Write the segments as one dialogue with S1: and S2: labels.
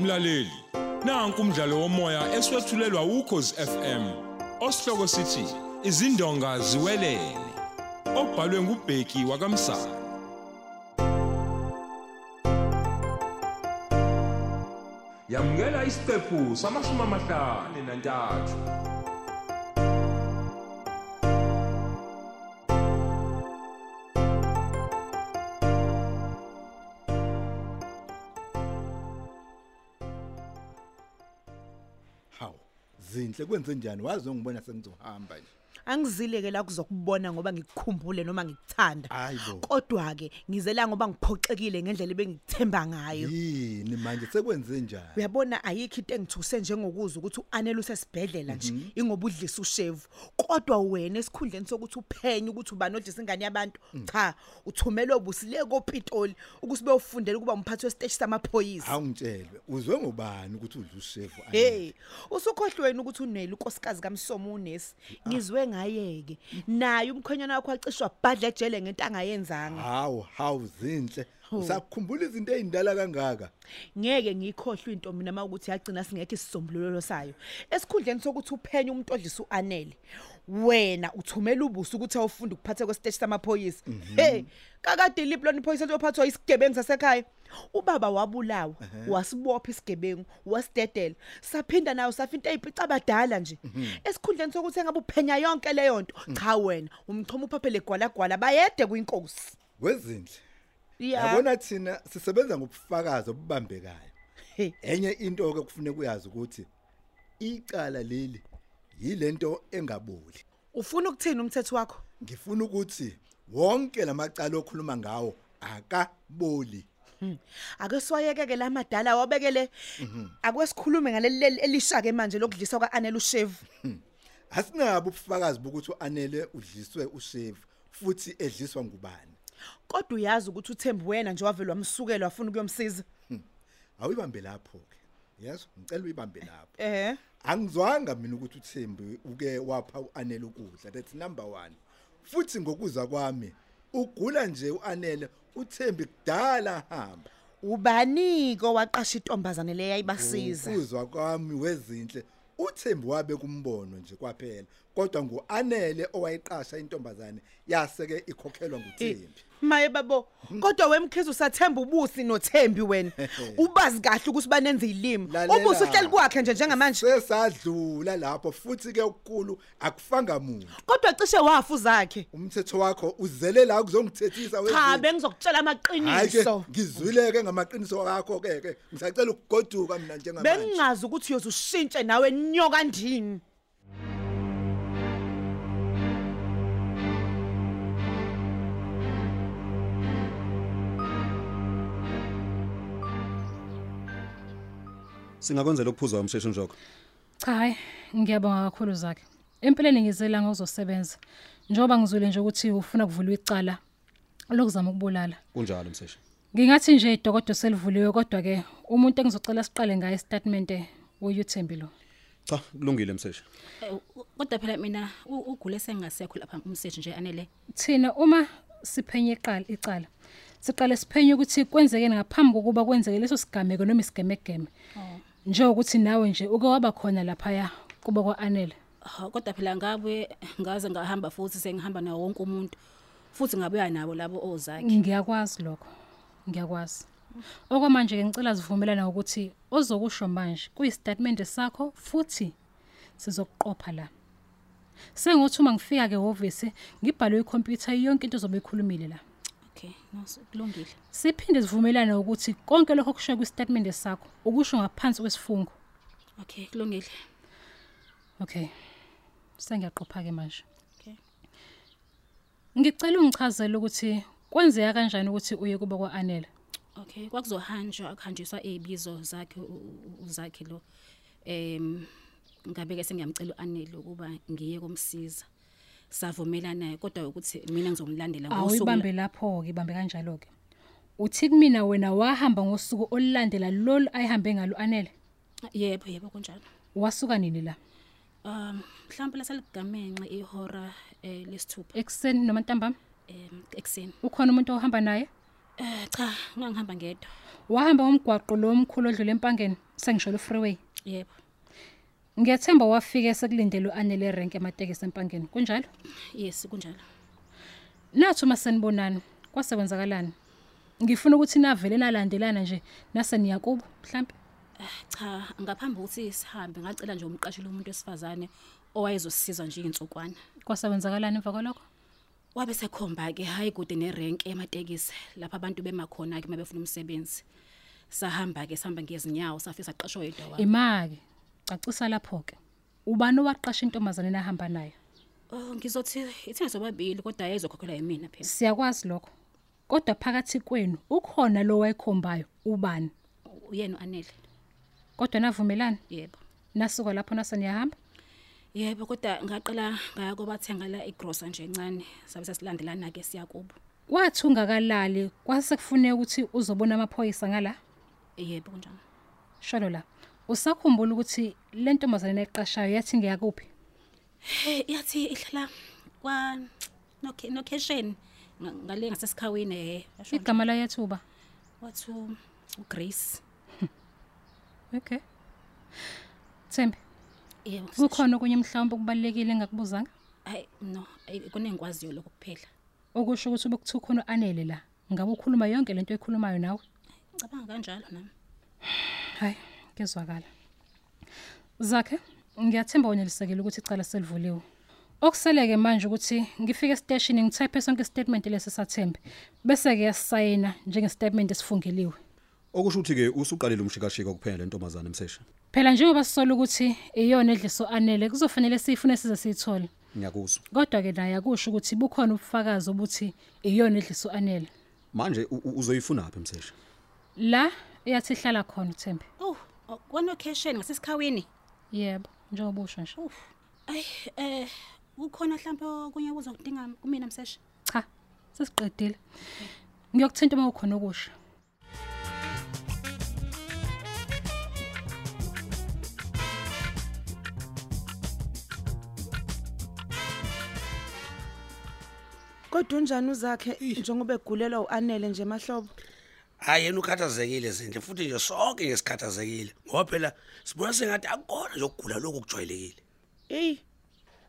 S1: Mlaleli, nanku umdlalo womoya eswetshulelwa ukhozi FM. Osihloko sithi izindonga ziwelele. Obhalwe ngubheki wakamsa. Yamukela isiqephu samashumi amahlanu nantathu.
S2: Haw. Zinhle kwenze njani? Wazi ngibona sengizohamba nje.
S3: Angizileke la kuzokubona ngoba ngikukhumbule noma ngikuthanda.
S2: Hayi bo.
S3: Kodwa ke ngizela ngoba ngiphoxekile ngendlela ebengithemba ngayo.
S2: Yini manje sekwenze njani?
S3: Uyabona ayikho into engithuse njengokuzwa ukuthi uAnel usesibhedlela nje
S2: Mhm.
S3: ingoba udlisa ushevu. Kodwa wena esikhundleni sokuthi uphenye ukuthi ubani odlisa ingane yabantu,
S2: Mm.
S3: cha, uthumelwe obusile koPitoli ukuthi beyofundela ukuba umphathi wesiteshi samaphoyisa.
S2: Awungitshelwe. Uzwe ngubani ukuthi udla ushevu?
S3: Hey, usukhohlweni ukuthi uneli unkosikazi kaMsomo unesi. Ngizwe ngayeke. Naye umkhwenyana wakho acishwa bhadla ejele ngento angayenzanga.
S2: Haw, haw zinhle. Usakukhumbula izinto ezindala kangaka?
S3: Ngeke ngikhohlwe into mina uma ukuthi yagcina singekho isisombululo sayo. Esikhundleni sokuthi uphenye umuntu odlisa uanele. Wena uthumela ubuso ukuthi awufunde ukuphatha kwesiteshi samaphoyisa. Hey, kakade liploni iphoyisa liyophathwa isigebengu sasekhaya. Ubaba wabulawa, wasibopha isigebengu, wasidedela. Saphinda nayo safinta izipica abadala nje. Esikhundleni sokuthi engabe uphenya yonke leyo nto, cha wena, umchoma uphaphele gwalagwala bayede kuinkosi.
S2: Wezinhle.
S3: Yeah.
S2: Yabona thina sisebenza ngobufakazi obubambekayo.
S3: Hey.
S2: Enye into ke kufuneka uyazi ukuthi icala leli yilento engaboli.
S3: Ufuna ukuthini umthetho wakho?
S2: Ngifuna ukuthi wonke lamacala okhuluma ngawo akaboli.
S3: Ake siwayeke ke lamadala wabekele akwesikhulume ngaleli elishake manje lokudliswa kwaAnel ushevu.
S2: Asinabo ubufakazi bokuthi uanele udliswe ushevu futhi edliswa ngubani.
S3: Kodwa uyazi ukuthi uThembu wena nje wavelwa umsukelo wafuna ukuyomsiza.
S2: Awuyibambe lapho ke. Yes, ngicela uyibambe lapho.
S3: Eh.
S2: Angizwanga mina ukuthi uThembi uke wapha uanele ukudla. That's number 1. Futhi ngokuza kwami ugula nje uanele uThembi kudala hamba.
S3: Ubaniko waqasha intombazane leya ibasiza.
S2: Ukuzwa kwami wezinhle uThembi wabe kumbono nje kwaphela. Kodwa nguanele owayiqasha intombazane yaseke ikhokhelwa nguThembi.
S3: Maye babo, kodwa wemkhize usathemba ubusi noThembi wena. Ubazi kahle ukuthi banenze ilimi.
S2: Lalela.
S3: Ubusi uhleli kwakhe nje njengamanje.
S2: sesadlula lapho futhi ke ukukhulu akufanga muntu
S3: Kodwa cishe wafu zakhe.
S2: umthetho wakho uzele la kuzongithethisa
S3: Cha
S2: wezinto.
S3: bengizokutshela
S2: Hhayi ke
S3: amaqiniso.
S2: ngizwile ke ngamaqiniso akho ke ke ngisacela ukugoduka mina njengamanje
S3: Bengazi ukuthi uyozushintshe nawe nyoka ndini.
S4: Singakwenzela ukuphuzwa umsheshu njoko.
S5: Cha hayi, ngiyabonga kakhulu zakhe. Empeleni ngizela ngokuzosebenza. Njengoba ngizwile nje ukuthi ufuna kuvulwa icala lokuzama ukubulala.
S4: Kunjalo umsheshu.
S5: Ngingathi nje idokodo selivuliwe kodwa ke umuntu engizocela siqale ngaye statement uYuthembi lo.
S4: Cha, kulungile umsheshu.
S6: Eh, u- kodwa phela mina u- ugule sengasekho lapha umseshi nje anele
S5: Thina uma siphenye iqala icala siqale siphenye ukuthi kwenzeke ngaphambi kokuba kwenzeke leso sigameko noma isigemegeme. Nje ukuthi nawe nje uke waba khona lapha kuba kwaanele.
S6: Hawu, kodwa phela ngabe ngaze ngahamba futhi sengihamba nawo wonke umuntu futhi ngabuya nabo labo ozakhe
S5: ngiyakwazi lokho ngiyakwazi okwamanje ke ngicela sivumelana ukuthi ozokusho manje kuyistatement sakho futhi sizokuqopha la sengothuma ngifika ke office ngibhalwe ikhompyutha yonke into zobe ikhulumile la
S6: okay no so- kulungile
S5: siphinde sivumelane ukuthi konke lokho okusho kwistatement sakho ukusho ngaphansi kwesifungo
S6: okay kulungile
S5: okay sengiyaqopha ke manje
S6: okay
S5: ngicela ungichazele ukuthi kwenzeka kanjani ukuthi uye kuba kwaanela
S6: okay kwakuzohanjwa kuhanjiswa izibizo zakhe u- u- uzakhe lo em ngabe ke sengiyamcela uanele ukuba ngiye kumsiza savumelana kodwa ukuthi mina ngizomlandela ngosuku la-
S5: awuyibambe lapho-ke ibambe kanjalo-ke uthi kumina wena wahamba ngosuku olulandela lolu ayihambe ngalo anele
S6: yebo yebo kunjalo
S5: wasuka nini la
S6: um mhlawumbe laseligamenxe ihora eh, lesithupha
S5: ekuseni noma ntambama
S6: em, ekuseni
S5: ukhona umuntu ohamba naye
S6: Eh, cha ngangihamba ngedwa
S5: wahamba ngomgwaqo lo omkhulu odlule empangeni sengisho lo freeway
S6: yebo
S5: ngiyathemba wafika esekulindele u-anele erenke amatekisi empangeni kunjalo
S6: yes kunjalo
S5: nathi uma senibonani kwasebwenzakalani ngifuna ukuthi navele nalandelana nje nase niya kubo mhlampe
S6: Eh, cha ngaphambi ukuthi sihambe ngacela nje umqashi lo muntu wesifazane owayezosisiza nje izinsukwana
S5: kwasekwenzakalani emva kwalokho
S6: wabe sekhomba ke hayi kude nerenke ematekisi lapha abantu bemakhona ke mabefuna umsebenzi sahamba ke sihamba ngezinyawo safisa saqashwa yindawo
S5: ima-ke cacisa lapho-ke ubani owaqasha intombazane nahamba nayo
S6: oh ngizothi ithenga sobabili kodwa yayizokhokhelwa yimina phela
S5: siyakwazi lokho kodwa phakathi kwenu ukhona lo wayekhombayo ubani
S6: uyena uanele
S5: kodwa navumelani
S6: yebo
S5: nasuka lapho nase niyahamba
S6: yebo kodwa ngaqala ngaya kobathenga la igrosa nje encane sabe sasilandelana ke siya kubo
S5: kwathi ungakalali kwasekufuneka ukuthi uzobona amaphoyisa ngala
S6: yebo kunjani
S5: sholo la usakhumbula ukuthi le ntombazane nayiqashayo yathi ngeyakuphi
S6: Eh yathi ihlala kwa nokhe nocation ngale ngasesikhaweni eh yasho nje.
S5: igama layo yathuba
S6: wathi u- uGrace
S5: okay thembi
S6: yebo
S5: kukhona okunye mhlawumbe okubalulekile engakubuzanga
S6: hayi no ayi, kunengikwaziyo lokho kuphela
S5: okusho ukuthi ubekuthi ukhona u-anele la ngabe ukhuluma yonke lento ekhulumayo nawe
S6: ngicabanga kanjalo nami
S5: hayi kezwakala zakhe ngiyathemba wonelisekele ukuthi icala selivuliwe okuseleke manje ukuthi ngifike esiteshini ngithayiphe sonke isitatimenti lesi sathembe bese-ke yasisayina njengesitatimenti esifungeliwe
S4: okusho ukuthi-ke usuqalile umshikashika kuphela le ntombazane msesha
S5: phela njengoba sisola ukuthi iyona edliso anele kuzofanele siyifune size siyithole
S4: ngiyakuzwa
S5: kodwa-ke naye akusho ukuthi bukhona ubufakazi obuthi iyona edliso anele
S4: manje u- u- uzoyifunaphi msesha
S5: la eyathi ihlala khona thembe
S6: oh oh, kwanocation ngasesikhaweni
S5: yebo njengoba usho nje
S6: uf ayi eh kukhona mhlawumbe okunye okuzokudinga kumina msesha
S5: cha sesiqedile ngiyokuthinta uma kukhona okusho
S3: kodwa unjani uzakhe njengoba egulelwa u-anele nje mahlobo
S7: hayi yena ukhathazekile zindle futhi nje sonke nje sikhathazekile ngoba phela sibona sengathi akukona nje ukugula lokhu kujwayelekile
S3: eyi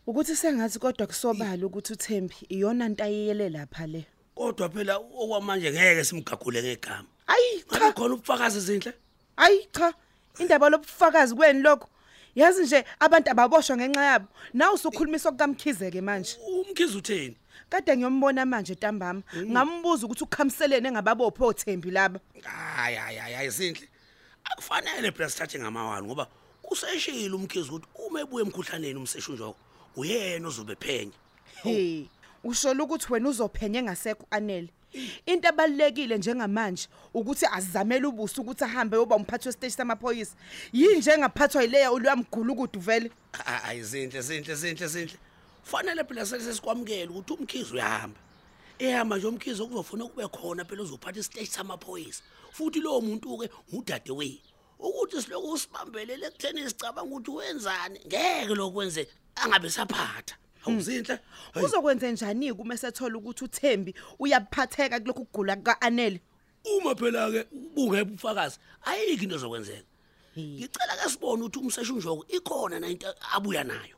S3: ukuthi sengathi kodwa kusobala ukuthi uthembi iyona nto ayiyele lapha le
S7: kodwa phela okwamanje ngeke simgagule ngegama
S3: ayi
S7: ngabe
S3: cha
S7: khona ubufakazi zindle
S3: ayi cha indaba lobufakazi kweni lokho yazi nje abantu ababoshwa ngenxa yabo nawe usukhulumiswa kukamkhizeke manje
S7: umkhizi utheni
S3: kade ngiyombona manje ntambama ngambuza ukuthi ukukhamselene engababophi othembi laba
S7: hayi hayi hayi hayi zindle akufanele phela sithathe ngamawalo ngoba useshile umkhizi ukuthi uma ebuya emkhuhlaneni umseshunjoko uyena ozobe phenya
S3: he ushola ukuthi wena uzophenye ngasekho anele into abalulekile njengamanje ukuthi azamele ubuso ukuthi ahambe yoba umphathi wesiteshi samaphoyisa yinje engaphathwa yileya oluyamgulukudu vele
S7: hayi zinhle zinhle zinhle zinhle fanele phela sesikwamukela ukuthi umkhizi uyahamba ehamba nje umkhizi okuzofuna kube khona phela uzophatha isiteshi samaphoyisa futhi lowo muntu-ke udade wethu ukuthi siloku usibambelele ekutheni sicabanga ukuthi wenzani ngeke lokhu kwenzeka angabe saphatha awuzinhle Hayi,
S3: uzokwenze njani-ke uma esethola ukuthi uthembi uyaphatheka kulokhu kugula kuka-anele
S7: uma phela-ke bungephi ubufakazi ayikho into ezokwenzeka ngicela-ke sibone ukuthi umseshunjoko ikhona na into abuya nayo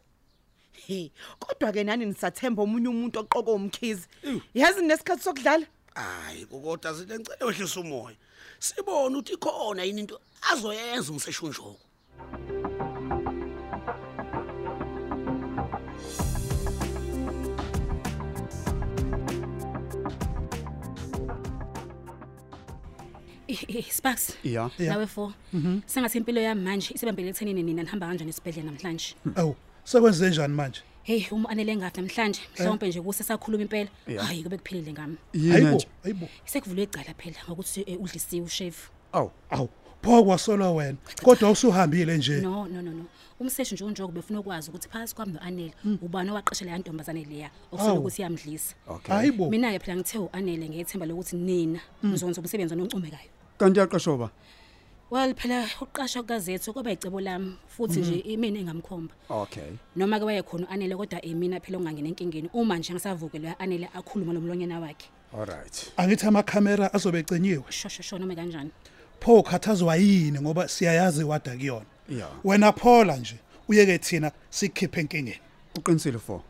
S3: he kodwa-ke nani nisathemba omunye umuntu oqoko umkhizi yazi nesikhathi sokudlala
S7: hayi kodwa zinto ngicela wehlisa umoya sibone ukuthi khona yini into azoyenza umseshunjoko
S6: Eh, eh, Sparks
S4: ya
S6: nawe fo
S2: Mm-hmm.
S6: sengathi impilo yami manje isebambele ethenini nina nihamba kanjani esibhedlela namhlanje
S2: awu Hmm. Oh, sekwenze njani manje Eh?
S6: hey uma uanele ngathi namhlanje mhlawumbe nje kusesakhuluma impela hayi kube kuphilile ngami
S2: hayibo hayibo
S6: sekuvulwe icala phela ngokuthi eh, udlisiwe ushef
S2: awu awu pho kwasolwa wena kodwa usuhambile nje
S6: no no no no umseshi nje unjoko befuna ukwazi ukuthi phakathi kwami no-anele
S2: Hmm.
S6: ubani owaqashela yantombazane leya okufuna
S2: Awu.
S6: ukuthi iyamdlisa
S2: hayibo
S6: mina-ke phela ngithe u-anele ngethemba lokuthi nina
S2: Hmm.
S6: nizonza umsebenzi ononcomekayo
S4: kanti yaqashwa ba
S6: well phela ukuqasha kukazethu kwaba icebo lami futhi nje imina engamkhomba
S4: okay
S6: noma-ke wayekhona u-anele kodwa imina phela ongangena enkingeni uma nje ngisavukelwe u-anele akhulume lomlonyana wakhe
S4: all right
S2: angithi amakhamera azobe ecinyiwe
S6: shoshosho noma kanjani
S8: pho ukhathazwa yini ngoba siyayazi wada kuyona
S4: Ya.
S8: wena phola nje uyeke thina sikhiphe enkingeni
S4: uqinisile fo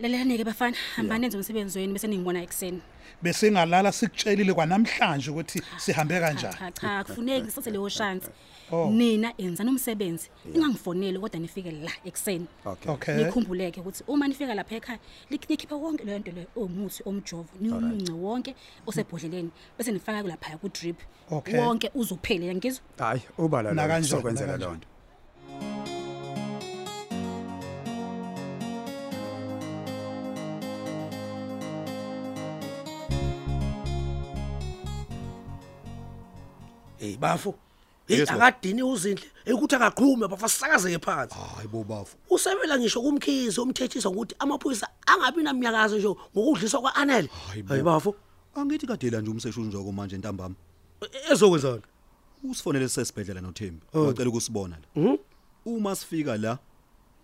S6: Lelani ke bafana, hambani enze umsebenzi wenu bese ningibona ekseni.
S8: besingalala sikutshelile kwanamhlanje ukuthi sihambe kanjani
S6: Cha cha, kufuneki ngisathe leyo chance.
S8: Oh.
S6: Nina enza nomsebenzi. Ningangifoneli kodwa nifike la ekseni.
S4: okay
S8: okay
S6: Nikhumbuleke ukuthi uma nifika lapha ekhaya, nikhiphe konke leyo nto leyo omuthi omjovo, niwumunce wonke osebhodleleni bese nifaka kulapha ku drip.
S8: Okay.
S6: Wonke uzophelela ngizwa.
S4: hayi ubala
S8: Na
S4: la
S8: kanjani, na
S4: sokwenzela
S8: kanjani.
S4: lonto
S7: hey bafo hey
S4: Yes, baba.
S7: akadini uzinhle ukuthi akaqhume bafa sisakazeke phansi
S4: hayi bobafu
S7: usebela ngisho kumkhizi umthethisa ukuthi amaphoyisa angabi namnyakazo nje ngokudliswa kwa-anele
S4: bo.
S7: hayi bafo
S4: angithi kadela nje umseshuzi njoko manje ntambama
S7: e- ezokwenzani
S4: usifonele sesibhedlela noThembi ngicela ukusibona la uma sifika la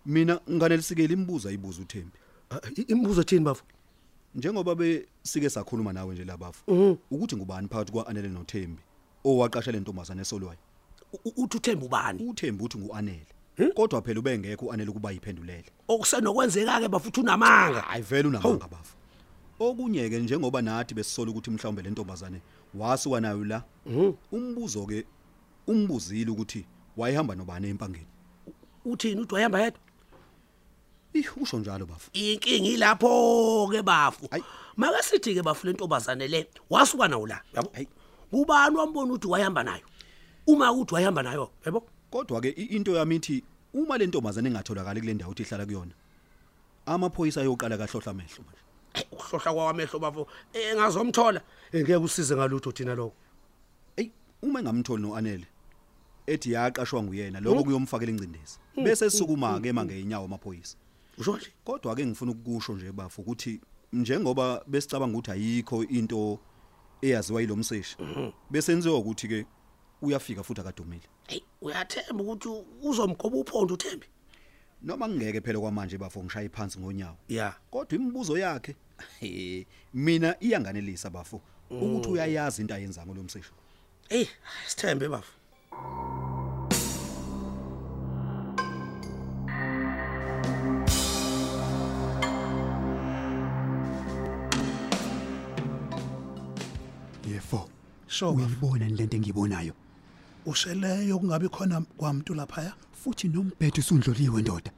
S4: mina nganelisikele imibuzo ayibuza uThembi
S7: Ah, i- imibuzo ethini bafo
S4: njengoba besike sakhuluma nawe nje labafu ukuthi ngubani phakathi kwaAnele noThembi owaqasha le ntombazane esolwayo
S7: U- u- uthi uthembe ubani
S4: uThembi uthi nguAnele kodwa phela ubengekho uAnele kuba yiphendulele
S7: okusenokwenzeka-ke bafo uthi unamanga
S4: hayi vele unamanga bafu okunye ke njengoba nathi besisola ukuthi mhlawumbe le ntombazane wasuka nayo la umbuzo ke umbuzile ukuthi wayehamba nobani empangeni
S7: uthini uthi wayehamba yedwa
S4: Ih usho njalo bafu
S7: inkinga ilapho-ke bafo
S4: Hayi.
S7: make sithi-ke bafo le ntombazane le wasuka nawo la yabo
S4: Hayi.
S7: ubani wambona ukuthi wayehamba nayo uma ukuthi wayehamba nayo yabo
S4: Kodwa ke i- into yami ithi uma le ntombazane ingatholakala kule ndawo ihlala kuyona amaphoyisa ayoqala kahlohla amehlo manje.
S7: Hhayi, ukuhlohla kwawamehlo bafo Eh, ngazomthola Eh, ngeke usize ngalutho thina lokho
S4: Ey uma engamtholi noanele ethi yaqashwa nguyena lokho kuyomfakela ingcindezi. Bese sisukuma ke mangaye inyawo amaphoyisa.
S7: usho nje
S4: Kodwa ke ngifuna ukukusho nje bafu ukuthi njengoba besicabanga ukuthi ayikho into eyaziwa yilomseshi. Besenziwa ukuthi ke uyafika futhi akadumile.
S7: Hey, uyathemba ukuthi uzomgoba uphondo uThembi?
S4: Noma ngeke phela kwamanje bafu ngishaya phansi ngonyawo.
S7: Yeah.
S4: kodwa imibuzo yakhe he, mina iyanganelisa bafo ukuthi uyayazi into ayenzayo lo msisho
S7: Hey, sithembe bafu.
S4: yefo
S8: so bafo
S4: yini lento engiyibonayo
S8: useleyo kungabi khona kwamuntu laphaya
S4: futhi nombhedo usundloliwe ndoda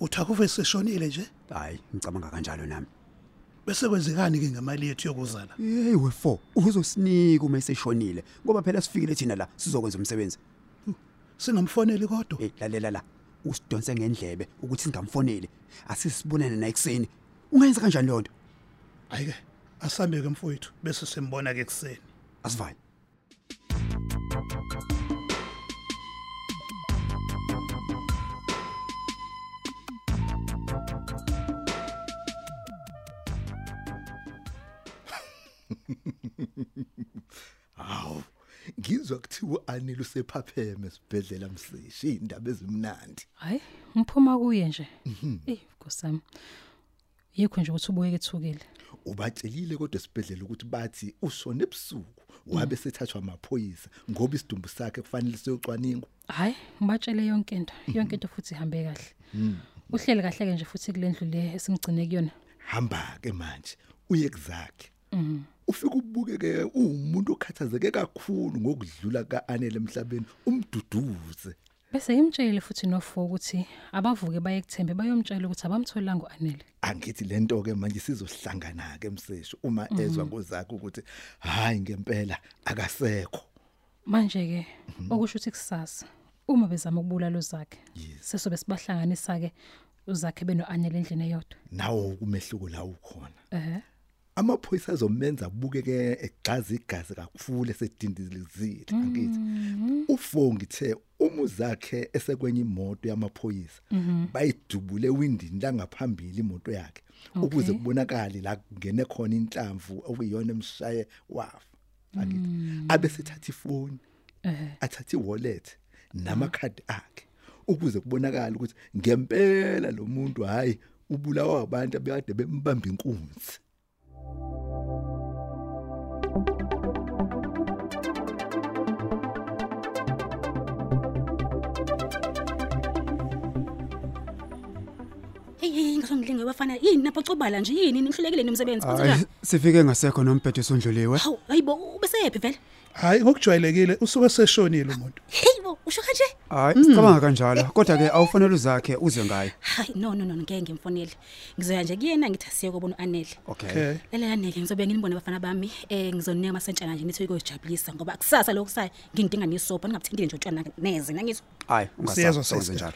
S8: uthi akuve seshonile nje
S4: hayi ngicabanga kanjalo nami
S8: bese kwenzekani ke ngemali yethu yokuzala
S4: hey wefo uzosinika uma eseshonile ngoba phela sifikile thina la sizokwenza umsebenzi
S8: Hmm, singamfoneli kodwa
S4: hey lalela la usidonse ngendlebe ukuthi singamfoneli asisibonana naye ekseni ungayenza kanjani lonto
S8: hayi ke asambe ke mfowethu bese simbona ke ekseni
S4: asivale
S2: Hawu. Ngizwa kuthiwa uAnele usephapheme sibhedlela msishi indaba ezimnandi.
S5: Hayi, ngiphuma kuye nje. Eh, nkosami. Yikho nje ukuthi ubuye kethukile.
S2: Ubatshelile kodwa sibhedlela ukuthi bathi ushone ebusuku wabe sethathwa amaphoyisa ngoba isidumbu sakhe kufanele siyocwaningo.
S5: Hayi, ngibatshele yonke into, yonke into futhi ihambe kahle. Uhleli kahle ke nje futhi kulendlu le esingigcine kuyona.
S2: Hamba ke manje uye kuzakhe. Ufika ubukeke umuntu okhathazeke kakhulu ngokudlula kaAnele emhlabeni umduduze.
S5: Bese imtshele futhi nofo ukuthi abavuke baye kuthembe bayomtshela ukuthi abamtholanga uanele.
S2: angithi lento ke manje sizohlangana ke mseshu uma ezwa ngozakho ukuthi hayi ngempela akasekho
S5: Manje ke okusho ukuthi kusasa uma bezama ukubulala uzakhe sesobe sibahlanganisa ke uzakhe benoanele endlini eyodwa.
S2: nawo kumehluko la ukhona
S5: Eh.
S2: amaphoyisa azomenza ubukeke egxaza igazi kakhulu esedindizilizile angithi ufo ngithe umuzakhe esekwenye imoto yamaphoyisa bayidubule windini la ngaphambili imoto yakhe ukuze kubonakale la kungene khona inhlamvu okuyiyona emshaye wafa angithi abesethatha ifoni athathe wallet namakhadi akhe ukuze kubonakale ukuthi ngempela lo muntu hayi ubulawa abantu abekade bembamba inkunzi
S6: eyi ngizongilinga wafana yini napho cobala nje yini nihlulekile nomsebenzi
S9: Hayi, sifike ngasekho nombhedo esondluliwe
S6: hawu hayibo ubeseyephi vele
S8: Hayi ngokujwayelekile usuke seshonile umuntu.
S6: heyibo usho kanje
S9: hayi
S4: Hmm.
S9: sicabanga kanjalo kodwa-ke awufanele uzakhe uze ngayo
S6: hayi no no no ngeke ngimfonele ngizoya nje kuyena ngithi asiye kobona u-anele
S9: okay
S8: Okay.
S6: lalela neke ngizobe nginibona abafana bami um ngizoninika amasentshana nje nithi uyokuyojabulisa ngoba kusasa lokusayo ngingidinga nisobho ningabuthintile nje utshwana neze nangithi
S9: hayi
S8: Siyezwa,
S9: ungasakho
S8: sister.
S9: njalo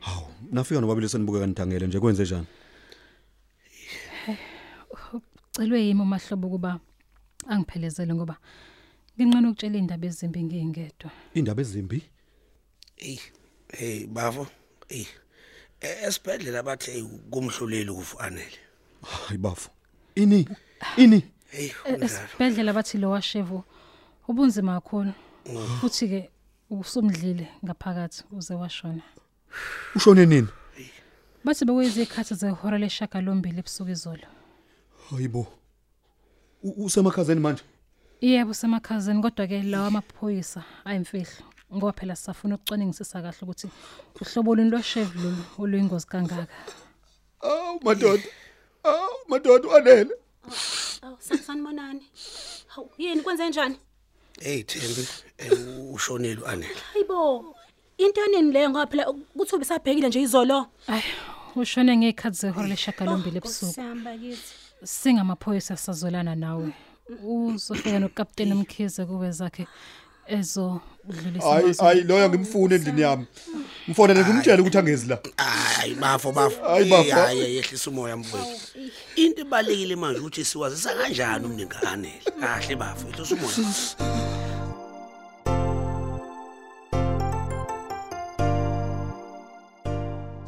S4: Hawu, nafika nobabili senibukeka nithangele nje kwenze njani?
S5: Celwe yimi umahlobo kuba angiphelezele ngoba nginqena ukutshela indaba ezimbi ngingedwa.
S4: Indaba ezimbi?
S7: eyi hey bafo eyi E- esibhedlela bathi eyi kumhluleli kufu anele
S4: Hayi bafu. Ini? Ini?
S7: heyi unjalo
S5: Esibhedlela bathi lo washevu ubunzima kakhulu. Futhi ke usumdlile ngaphakathi uze washona.
S4: Ushone nini?
S5: Bathi bekuyizikhathi zehora leshagalombili ebusuku izolo.
S4: Hayibo. U- Usemakhazeni manje?
S5: Yebo semakhazeni kodwa ke lawa amaphoyisa ayimfihlo. Ngoba phela sisafuna ukucwaningisisa kahle ukuthi uhlobo lolu loshevu lolu oluyingozi kangaka.
S4: Awu madoda. Awu madoda wanele.
S6: sanibonani hawu yini kwenze njani
S7: eyi thembi eh, ushonile u-anele
S6: hayibo into yanini leyo ngoba phela kuthi ubesabhekile nje izolo
S5: Ay, ushone ngekhathi zehora leshagalombili ebusuku.
S6: sihamba kithi
S5: singamaphoyisa sazolana nawe uzofika nokapteni mkhize kuwe zakhe
S4: Hayi
S5: ezodlulisa
S4: hayi loya ngimfuna endlini yami. Mfonele ngimtshela ukuthi angezi la.
S7: hayi bafo bafo
S4: Hayi, bafo.
S7: hayi yehlisa umoya mfowethu into ebalekile manje ukuthi siwazisa kanjani umninga anele kahle bafo yehlisa umoya